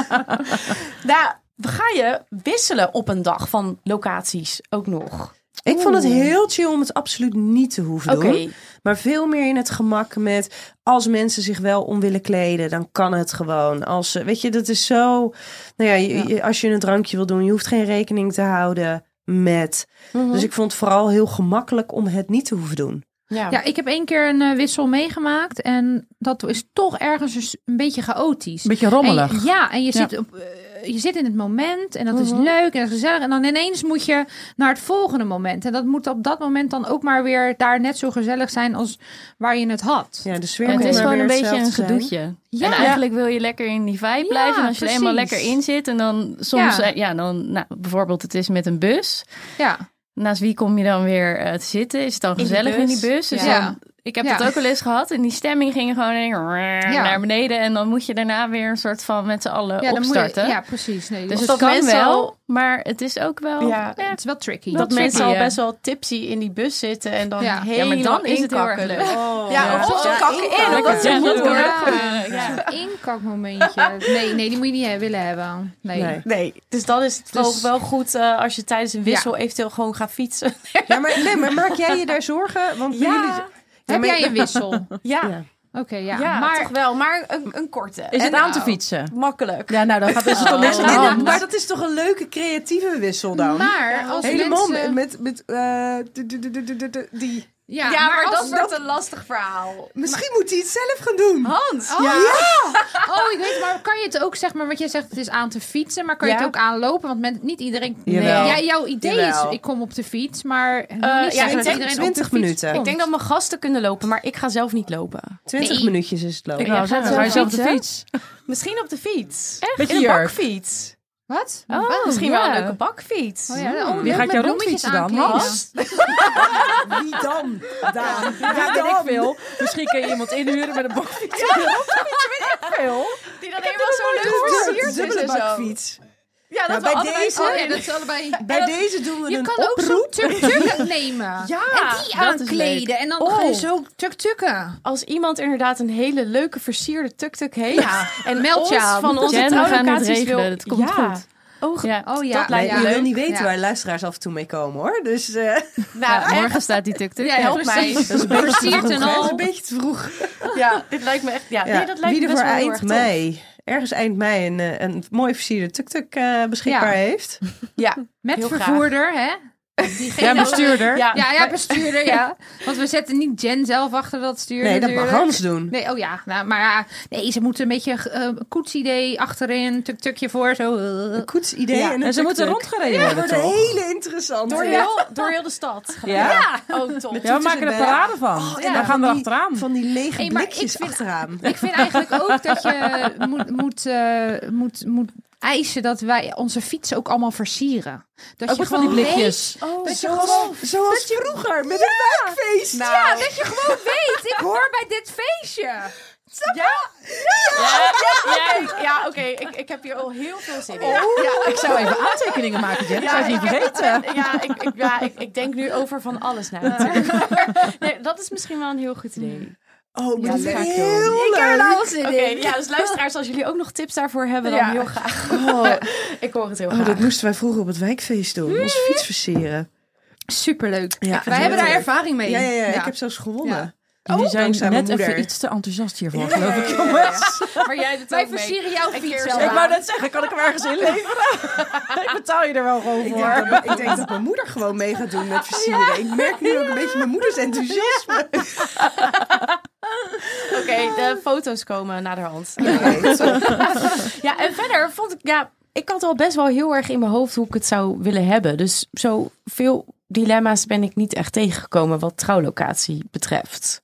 Speaker 4: Nou, ga je wisselen op een dag van locaties ook nog?
Speaker 2: ik vond het heel chill om het absoluut niet te hoeven
Speaker 4: Oké.
Speaker 2: doen. Maar veel meer in het gemak met als mensen zich wel om willen kleden, dan kan het gewoon. Als, ze- weet je, dat is zo. Nou ja, je- je- als je een drankje wil doen, je hoeft geen rekening te houden met. Dus ik vond het vooral heel gemakkelijk om het niet te hoeven doen.
Speaker 4: Ja.
Speaker 5: Ja, ik heb één keer een eh, wissel meegemaakt. En dat is toch ergens dus een beetje chaotisch.
Speaker 6: Een beetje rommelig.
Speaker 5: En je- ja, en je,
Speaker 6: Ja.
Speaker 5: Zit op, eh, je zit in het moment en dat is leuk en dat is gezellig. En dan ineens moet je naar het volgende moment. En dat moet op dat moment dan ook maar weer daar net zo gezellig zijn als waar je het had.
Speaker 2: Ja, de sfeer
Speaker 3: En het
Speaker 2: kon
Speaker 3: is
Speaker 2: maar
Speaker 3: gewoon
Speaker 2: weer
Speaker 3: een beetje een
Speaker 2: hetzelfde zijn.
Speaker 3: gedoetje.
Speaker 5: Ja.
Speaker 3: En eigenlijk wil je lekker in die vibe blijven. En als je er eenmaal
Speaker 5: precies.
Speaker 3: lekker in zit. En dan soms,
Speaker 5: Ja.
Speaker 3: eh, ja, dan, nou, bijvoorbeeld het is met een bus.
Speaker 5: Ja,
Speaker 3: Naast wie kom je dan weer eh, te zitten? Is het dan
Speaker 4: die
Speaker 3: gezellig in
Speaker 4: bus?
Speaker 3: die bus? Dus
Speaker 5: Ja.
Speaker 3: dan- ik heb
Speaker 5: Ja.
Speaker 3: dat ook al eens gehad. En die stemming ging gewoon in- naar beneden. En dan moet je daarna weer een soort van met z'n allen
Speaker 5: ja dan moet
Speaker 3: opstarten.
Speaker 5: je. Ja, precies. Nee,
Speaker 3: Dus
Speaker 5: dat-
Speaker 3: het
Speaker 4: dat
Speaker 3: kan
Speaker 4: mensen
Speaker 3: wel,
Speaker 4: al-
Speaker 3: maar het is ook wel...
Speaker 4: Ja.
Speaker 5: het is wel tricky.
Speaker 4: Dat,
Speaker 3: Dat
Speaker 4: mensen
Speaker 3: tricky,
Speaker 4: al
Speaker 3: ja.
Speaker 4: best wel tipsy in die bus zitten en dan
Speaker 5: Ja. Ja, maar
Speaker 3: Ja,
Speaker 4: helemaal
Speaker 3: maar dan is het heel erg
Speaker 4: inkakken.
Speaker 3: leuk.
Speaker 4: Ja,
Speaker 2: Ja.
Speaker 4: of ze
Speaker 2: Ja,
Speaker 4: kakken in,
Speaker 2: inkakken.
Speaker 4: omdat ze
Speaker 3: Ja,
Speaker 4: moe
Speaker 3: dat kan
Speaker 4: worden.
Speaker 3: ook gebeuren, ja.
Speaker 5: Zo'n inkakmomentje. Nee, nee, die moet je niet eh, willen hebben. Nee.
Speaker 2: Nee.
Speaker 4: Nee, dus dan is het
Speaker 5: Dus-
Speaker 4: ook wel goed eh, als je tijdens een wissel eventueel gewoon gaat fietsen.
Speaker 2: Ja, maar, nee, maar maak jij je daar zorgen? Want bij
Speaker 4: Ja.
Speaker 2: jullie...
Speaker 5: Heb
Speaker 2: maar-
Speaker 5: jij een wissel? Oké,
Speaker 4: Ja,
Speaker 2: Ja.
Speaker 4: ja.
Speaker 5: ja. Maar
Speaker 4: toch wel, maar een, een korte.
Speaker 6: Is het
Speaker 5: En
Speaker 6: aan te
Speaker 5: nou.
Speaker 6: fietsen?
Speaker 4: Makkelijk.
Speaker 6: Ja, nou, dan gaat dus toch niks aan de
Speaker 2: Nee,
Speaker 6: hand.
Speaker 2: Oh, maar dat is toch een leuke creatieve wissel dan?
Speaker 5: Maar als
Speaker 2: Helemaal
Speaker 5: mensen...
Speaker 2: met, met eh, d- d- d- d- d- d- die...
Speaker 5: Ja,
Speaker 4: een lastig verhaal.
Speaker 2: Misschien moet hij het zelf gaan doen.
Speaker 4: Hans!
Speaker 5: Oh, oh, ik weet maar kan je het ook, zeg maar, wat jij zegt, het is aan te fietsen, maar kan je
Speaker 4: Ja.
Speaker 5: het ook aanlopen? Want men, niet iedereen...
Speaker 2: Jawel.
Speaker 5: Ja, jouw idee
Speaker 2: Jawel.
Speaker 5: is, ik kom op de fiets, maar niet
Speaker 4: ja,
Speaker 5: zeggen
Speaker 4: ik
Speaker 5: dat
Speaker 4: denk
Speaker 5: iedereen op de
Speaker 2: 20
Speaker 5: fiets
Speaker 2: minuten.
Speaker 5: komt.
Speaker 4: Ik denk dat mijn gasten kunnen lopen, maar ik ga zelf niet lopen.
Speaker 2: 20
Speaker 5: Nee.
Speaker 2: minuutjes is het
Speaker 6: Ik
Speaker 2: lopen.
Speaker 6: wou zeggen,
Speaker 3: zelf
Speaker 6: ga je zelf op de
Speaker 3: fietsen?
Speaker 6: fiets?
Speaker 4: Misschien op de fiets.
Speaker 6: Met
Speaker 4: In een
Speaker 6: je jurk.
Speaker 4: bakfiets.
Speaker 5: Wat?
Speaker 3: Oh,
Speaker 5: Wat?
Speaker 4: Misschien wel
Speaker 3: ja.
Speaker 4: een leuke bakfiets.
Speaker 5: Oh, ja, oh,
Speaker 6: Wie
Speaker 5: leuk
Speaker 6: gaat
Speaker 5: met
Speaker 6: jou
Speaker 5: bloemetjes
Speaker 6: rondfietsen dan?
Speaker 5: aankleden.
Speaker 6: Hans?
Speaker 2: Wie dan? Daan.
Speaker 6: Ja, weet ik veel. Misschien kun je iemand inhuren met een bakfiets.
Speaker 4: Die dan helemaal zo leuk versierd is
Speaker 2: dubbele
Speaker 4: en zo.
Speaker 2: bakfiets.
Speaker 4: Ja,
Speaker 2: Nou,
Speaker 4: dat
Speaker 2: bij
Speaker 4: we allebei
Speaker 2: deze-
Speaker 4: zo
Speaker 5: Oh ja,
Speaker 4: in-
Speaker 5: dat is allebei...
Speaker 2: Bij deze doen we
Speaker 5: Je
Speaker 2: een
Speaker 5: kan ook zo'n
Speaker 2: oproep.
Speaker 5: tuk-tuk nemen.
Speaker 4: Ja,
Speaker 5: en die
Speaker 3: dat is
Speaker 5: aankleden. En dan
Speaker 4: Oh.
Speaker 5: ga je zo tuk-tukken.
Speaker 4: Als iemand inderdaad een hele leuke versierde tuk-tuk heeft. En
Speaker 5: Meld je
Speaker 4: ons
Speaker 5: aan.
Speaker 4: van onze
Speaker 3: Jen, we gaan het
Speaker 4: trouwlocaties wil...
Speaker 3: regelen. Het komt
Speaker 4: Ja.
Speaker 3: goed.
Speaker 6: Oh,
Speaker 3: Ja.
Speaker 5: Oh ja,
Speaker 3: dat
Speaker 2: Nee,
Speaker 3: lijkt
Speaker 5: ja.
Speaker 3: me
Speaker 2: je wil
Speaker 3: leuk.
Speaker 2: niet weten
Speaker 5: Ja.
Speaker 2: waar luisteraars af en toe mee komen hoor. Dus eh,
Speaker 3: Nou, morgen staat die tuk-tuk.
Speaker 5: Ja, help mij.
Speaker 3: precies.
Speaker 5: Dat is een beetje te
Speaker 3: Versierd
Speaker 5: vroeg, hè?
Speaker 3: en
Speaker 2: dat is
Speaker 3: al.
Speaker 2: een beetje te vroeg.
Speaker 4: Ja, dit lijkt me echt. Ja,
Speaker 2: Ja,
Speaker 4: Nee, dat lijkt
Speaker 2: Wie er
Speaker 4: me best
Speaker 2: voor
Speaker 4: wel heel
Speaker 2: eind
Speaker 4: erg tof.
Speaker 2: mei, ergens eind mei, een, eh, een mooie versierde tuk-tuk eh, beschikbaar
Speaker 5: Ja.
Speaker 2: heeft.
Speaker 4: Ja,
Speaker 5: Met
Speaker 4: Heel graag.
Speaker 5: vervoerder, hè? Diegene-
Speaker 6: Ja, bestuurder.
Speaker 4: ja.
Speaker 5: Ja, ja, bestuurder, ja. Want we zetten niet Jen zelf achter dat stuur
Speaker 2: Nee, dat mag
Speaker 5: natuurlijk.
Speaker 2: Hans doen.
Speaker 5: Nee, oh ja, nou, maar ja, nee, ze moeten een beetje eh, een koetsidee achterin, tuk-tukje voor, zo. eh.
Speaker 2: Een koetsidee
Speaker 4: Ja,
Speaker 2: en een
Speaker 6: En ze moeten
Speaker 2: tuk-tuk.
Speaker 6: rondgereden
Speaker 2: Dat
Speaker 6: worden,
Speaker 2: wordt een
Speaker 6: toch?
Speaker 2: hele interessante.
Speaker 4: Door, heel, door heel de stad.
Speaker 6: Ja.
Speaker 4: Oh, tof.
Speaker 2: Met
Speaker 6: Ja, we
Speaker 2: toeters
Speaker 6: maken
Speaker 2: en
Speaker 6: er
Speaker 2: bellen.
Speaker 6: parade van.
Speaker 2: en
Speaker 6: en
Speaker 2: dan
Speaker 6: dan gaan we
Speaker 2: van die-
Speaker 6: achteraan.
Speaker 2: Van die lege
Speaker 5: Hey, maar ik
Speaker 2: blikjes
Speaker 5: vind- Oh,
Speaker 2: achteraan.
Speaker 5: Ik vind eigenlijk ook dat je moet, moet, eh, moet, moet eisen dat wij onze fietsen ook allemaal versieren. Dat
Speaker 6: Ook
Speaker 5: je
Speaker 6: met van die
Speaker 5: gewoon
Speaker 6: blikjes.
Speaker 4: Oh,
Speaker 2: Dat zoals, zoals vroeger, met een wijkfeest.
Speaker 5: Weet, Nou, ja, dat je gewoon weet, ik hoor bij dit feestje.
Speaker 4: Ja, ja, ja, ja, oké. Ik, ik heb hier al heel veel zin in.
Speaker 2: Oh.
Speaker 4: Ja, ik zou even...
Speaker 6: Even aantekeningen maken, Jen.
Speaker 4: Ja,
Speaker 6: Dat zou je niet
Speaker 4: ik heb-
Speaker 6: vergeten.
Speaker 4: Ja, ik, ik, ja ik, ik denk nu over van alles na. natuurlijk. Nee, dat is misschien wel een heel goed idee.
Speaker 2: Oh, maar dat
Speaker 5: Ja, dat
Speaker 2: is
Speaker 5: ga ik
Speaker 2: heel leuk.
Speaker 4: Oké, ja, dus luisteraars, als jullie ook nog tips daarvoor hebben, dan
Speaker 5: Ja.
Speaker 4: heel graag.
Speaker 2: Oh,
Speaker 4: Ik hoor het heel
Speaker 2: oh,
Speaker 4: graag.
Speaker 2: dat moesten wij vroeger op het wijkfeest doen. Onze fiets versieren.
Speaker 5: Superleuk.
Speaker 2: Ja,
Speaker 5: wij hebben daar
Speaker 2: leuk.
Speaker 5: ervaring mee.
Speaker 2: Ja, ja, ja, ik heb zelfs gewonnen.
Speaker 6: Jullie
Speaker 2: dankzij
Speaker 6: zijn
Speaker 2: mijn
Speaker 6: net
Speaker 2: moeder.
Speaker 6: even iets te enthousiast hiervoor, geloof ik.
Speaker 4: Maar jij doet
Speaker 5: Wij
Speaker 4: ook mee.
Speaker 5: versieren jouw
Speaker 4: keer
Speaker 5: fiets
Speaker 4: zelf.
Speaker 5: wel.
Speaker 6: Ik wou net zeggen, kan ik hem ergens inleveren? ik betaal je er wel gewoon
Speaker 2: Ik
Speaker 6: voor.
Speaker 2: denk, dat, ik denk dat mijn moeder gewoon mee gaat doen met versieren. Ik merk nu ook een beetje mijn moeders enthousiasme.
Speaker 4: Oké, de foto's komen naderhand.
Speaker 2: Oké, top.
Speaker 4: Ja, en verder vond ik, ja, ik had al best wel heel erg in mijn hoofd hoe ik het zou willen hebben. Dus zo veel dilemma's ben ik niet echt tegengekomen wat trouwlocatie betreft.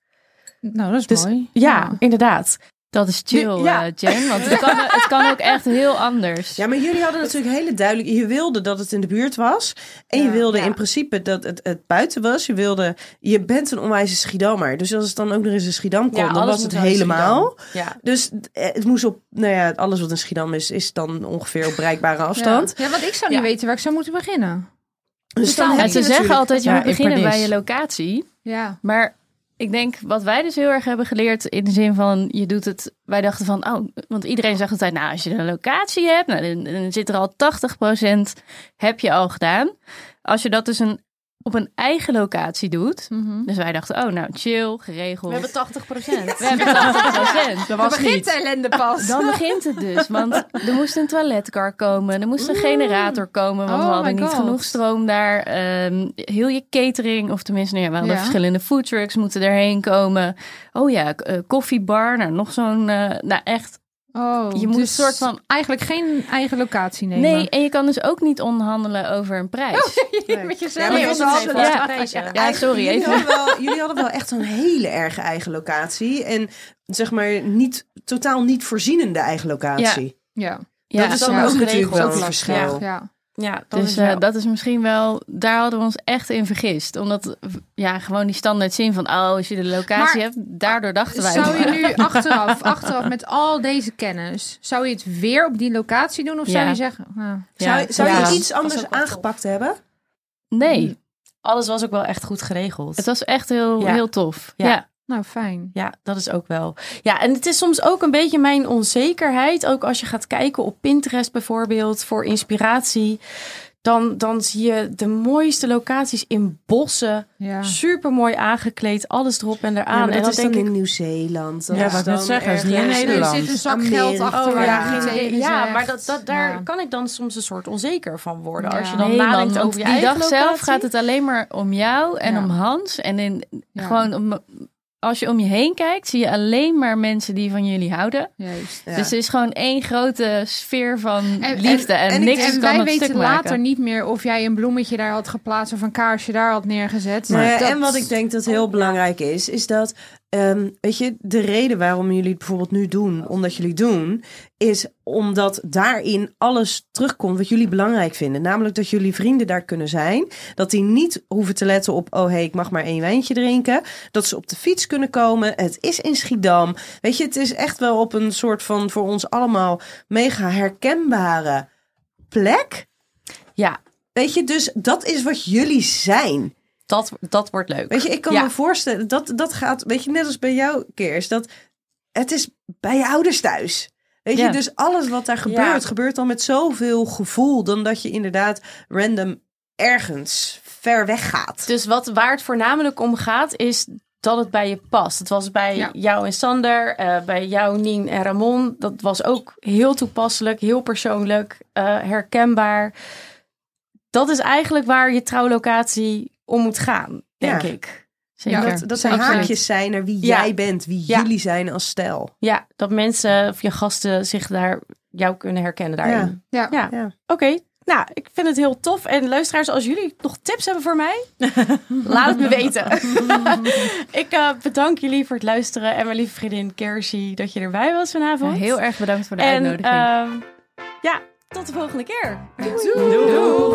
Speaker 5: Nou, dat is
Speaker 4: Dus-
Speaker 5: mooi.
Speaker 4: Ja, inderdaad.
Speaker 3: Dat is chill,
Speaker 2: Nu- ja.
Speaker 3: eh, Jen. Want het kan, het kan ook echt heel anders.
Speaker 2: Ja, maar jullie hadden natuurlijk hele duidelijk. Je wilde dat het in de buurt was. En je
Speaker 5: Ja,
Speaker 2: wilde
Speaker 5: ja.
Speaker 2: in principe dat het, het buiten was. Je wilde. Je bent een onwijze Schiedammer. Dus als het dan ook nog eens in Schiedam komt,
Speaker 4: ja,
Speaker 2: dan
Speaker 4: alles
Speaker 2: was het
Speaker 4: moet wel in
Speaker 2: helemaal.
Speaker 4: Schiedam. Ja.
Speaker 2: Dus eh, het moest op. Nou ja, alles wat in Schiedam is, is dan ongeveer op bereikbare afstand.
Speaker 5: Ja, want ik zou niet
Speaker 4: Ja.
Speaker 5: weten waar ik zou moeten beginnen.
Speaker 2: Dus dan
Speaker 5: Ja,
Speaker 2: heb
Speaker 3: En
Speaker 2: je
Speaker 3: ze
Speaker 2: natuurlijk-
Speaker 3: zeggen altijd, je
Speaker 6: Ja,
Speaker 3: moet
Speaker 6: in
Speaker 3: beginnen bij
Speaker 6: Pernis.
Speaker 3: je locatie.
Speaker 5: Ja.
Speaker 3: Maar ik denk wat wij dus heel erg hebben geleerd in de zin van je doet het. Wij dachten van, oh, want iedereen zegt altijd, nou, als je een locatie hebt, nou, dan, dan zit er al 80% heb je al gedaan. Als je dat dus een, op een eigen locatie doet. Dus wij dachten, oh, nou, chill, geregeld.
Speaker 4: We hebben 80 procent.
Speaker 3: We hebben 80%.
Speaker 6: Dat
Speaker 5: Dan
Speaker 6: was
Speaker 5: begint de
Speaker 6: niet.
Speaker 5: ellende pas.
Speaker 3: Dan begint het dus, want er moest een toiletkar komen, er moest een generator komen, want
Speaker 5: Oh
Speaker 3: we hadden
Speaker 5: my
Speaker 3: niet
Speaker 5: God.
Speaker 3: genoeg stroom daar. Ehm, heel je catering, of tenminste, nou ja, we hadden
Speaker 5: Ja.
Speaker 3: verschillende foodtrucks moeten erheen komen. Oh ja, k- eh, koffiebar, nou nog zo'n, eh, nou echt.
Speaker 5: Oh,
Speaker 3: Je moet
Speaker 5: dus
Speaker 3: een soort van-
Speaker 5: Eigenlijk geen eigen locatie nemen.
Speaker 3: Nee, en je kan dus ook niet onderhandelen over een prijs.
Speaker 5: met
Speaker 2: Ja,
Speaker 5: jezelf.
Speaker 2: maar
Speaker 4: Nee,
Speaker 2: dat
Speaker 4: want
Speaker 2: was
Speaker 4: het
Speaker 2: wel-
Speaker 4: zijn
Speaker 3: ja.
Speaker 4: vaste prijzen.
Speaker 3: Ja, sorry,
Speaker 2: Jullie
Speaker 3: even.
Speaker 2: hadden, wel, jullie hadden wel echt een hele erge eigen locatie. En zeg maar niet, totaal niet voorzienende eigen locatie.
Speaker 5: Ja,
Speaker 3: Ja,
Speaker 2: dat is
Speaker 4: dat
Speaker 2: dan
Speaker 4: is
Speaker 2: ook natuurlijk
Speaker 4: geregeld.
Speaker 2: wel
Speaker 4: Dat
Speaker 2: een
Speaker 4: is lastig, ja.
Speaker 2: verschil.
Speaker 5: ja.
Speaker 4: Ja, dat
Speaker 3: dus
Speaker 4: is
Speaker 3: eh,
Speaker 4: wel.
Speaker 3: dat is misschien wel, daar hadden we ons echt in vergist. Omdat, ja, gewoon die standaard zin van, oh, als je de locatie
Speaker 5: Maar-
Speaker 3: hebt, daardoor dachten wij.
Speaker 5: Zou je nu achteraf, achteraf met al deze kennis, zou je het weer op die locatie doen? Of zou
Speaker 3: Ja.
Speaker 5: je zeggen, nou,
Speaker 3: Ja,
Speaker 2: Zou, zou
Speaker 4: ja.
Speaker 2: je iets
Speaker 4: Dat is ook
Speaker 2: anders
Speaker 4: wel tof.
Speaker 2: aangepakt hebben?
Speaker 3: Nee,
Speaker 4: Alles was ook wel echt goed geregeld.
Speaker 3: het was echt heel,
Speaker 4: Ja.
Speaker 3: heel tof.
Speaker 4: Ja.
Speaker 3: ja.
Speaker 5: nou fijn.
Speaker 4: Ja, dat is ook wel. Ja, en het is soms ook een beetje mijn onzekerheid. Ook als je gaat kijken op Pinterest bijvoorbeeld voor inspiratie. Dan, dan zie je de mooiste locaties in bossen.
Speaker 5: Ja.
Speaker 4: Super mooi aangekleed, alles erop en
Speaker 2: Ja,
Speaker 4: eraan.
Speaker 2: maar
Speaker 4: en
Speaker 2: dat
Speaker 4: dan
Speaker 2: is dan
Speaker 4: denk ik.
Speaker 2: in Nieuw-Zeeland. Dat
Speaker 6: Ja,
Speaker 2: is
Speaker 6: wou ik net
Speaker 2: dan
Speaker 6: zeggen, is niet in
Speaker 2: ergens-
Speaker 5: Er
Speaker 6: Nederland.
Speaker 5: zit een zak geld
Speaker 2: Amerika.
Speaker 5: achter
Speaker 2: Oh,
Speaker 5: waar
Speaker 2: ja.
Speaker 5: je geen tegen
Speaker 4: ja,
Speaker 5: zegt.
Speaker 4: maar dat, dat, daar
Speaker 5: Ja.
Speaker 4: kan ik dan soms een soort onzeker van worden.
Speaker 5: Ja.
Speaker 4: Als je dan
Speaker 3: Nee,
Speaker 4: nadenkt
Speaker 3: man, want
Speaker 4: over je
Speaker 3: die dag
Speaker 4: eigen
Speaker 3: zelf
Speaker 4: locatie.
Speaker 3: gaat het alleen maar om jou en
Speaker 5: Ja.
Speaker 3: om Hans. En in,
Speaker 5: Ja.
Speaker 3: gewoon om, als je om je heen kijkt, zie je alleen maar mensen die van jullie houden.
Speaker 5: Juist.
Speaker 2: Ja.
Speaker 3: Dus het is gewoon één grote sfeer van
Speaker 5: en-
Speaker 3: liefde. En,
Speaker 2: en ik
Speaker 3: niks
Speaker 2: denk-
Speaker 5: En
Speaker 3: kan
Speaker 5: wij
Speaker 3: dat
Speaker 5: weten
Speaker 3: stuk
Speaker 5: later
Speaker 3: maken.
Speaker 5: niet meer of jij een bloemetje daar had geplaatst of een kaarsje daar had neergezet.
Speaker 2: Nou ja,
Speaker 5: Dat-
Speaker 2: En wat ik denk dat heel belangrijk is, is dat, ehm, weet je, de reden waarom jullie het bijvoorbeeld nu doen, omdat jullie het doen, is omdat daarin alles terugkomt wat jullie belangrijk vinden. Namelijk dat jullie vrienden daar kunnen zijn, dat die niet hoeven te letten op, oh hé, hey, ik mag maar één wijntje drinken, dat ze op de fiets kunnen komen, het is in Schiedam. Weet je, het is echt wel op een soort van voor ons allemaal mega herkenbare plek.
Speaker 4: Ja,
Speaker 2: Weet je, dus dat is wat jullie zijn.
Speaker 4: dat, dat wordt leuk.
Speaker 2: Weet je, ik kan
Speaker 4: Ja.
Speaker 2: me voorstellen, dat, dat gaat, weet je, net als bij jou, Keers, dat het is bij je ouders thuis. Weet
Speaker 3: Ja.
Speaker 2: je, dus alles wat daar gebeurt,
Speaker 6: Ja.
Speaker 2: gebeurt dan met zoveel gevoel. Dan dat je inderdaad random ergens ver weg gaat.
Speaker 4: Dus wat, waar het voornamelijk om gaat, is dat het bij je past. Het was bij
Speaker 5: Ja.
Speaker 4: jou en Sander, eh, bij jou, Nien en Ramon. Dat was ook heel toepasselijk, heel persoonlijk, eh, herkenbaar. Dat is eigenlijk waar je trouwlocatie om moet gaan, denk
Speaker 2: Ja.
Speaker 4: ik.
Speaker 5: Ja.
Speaker 4: Zeker.
Speaker 2: dat dat er
Speaker 5: Zeker.
Speaker 2: haakjes zijn naar wie
Speaker 4: Ja.
Speaker 2: jij bent, wie
Speaker 4: Ja.
Speaker 2: jullie zijn als stijl.
Speaker 4: Ja, dat mensen of je gasten zich daar jou kunnen herkennen daarin.
Speaker 5: Ja.
Speaker 4: Ja.
Speaker 2: Ja.
Speaker 4: Oké. Nou, ik vind het heel tof. En luisteraars, als jullie nog tips hebben voor mij, laat het me weten. ik eh, bedank jullie voor het luisteren. En mijn lieve vriendin Kersie, dat je erbij was
Speaker 3: Ja,
Speaker 4: vanavond.
Speaker 3: heel erg bedankt voor de
Speaker 4: En
Speaker 3: uitnodiging.
Speaker 4: ehm, ja, tot de volgende keer.
Speaker 5: Doei.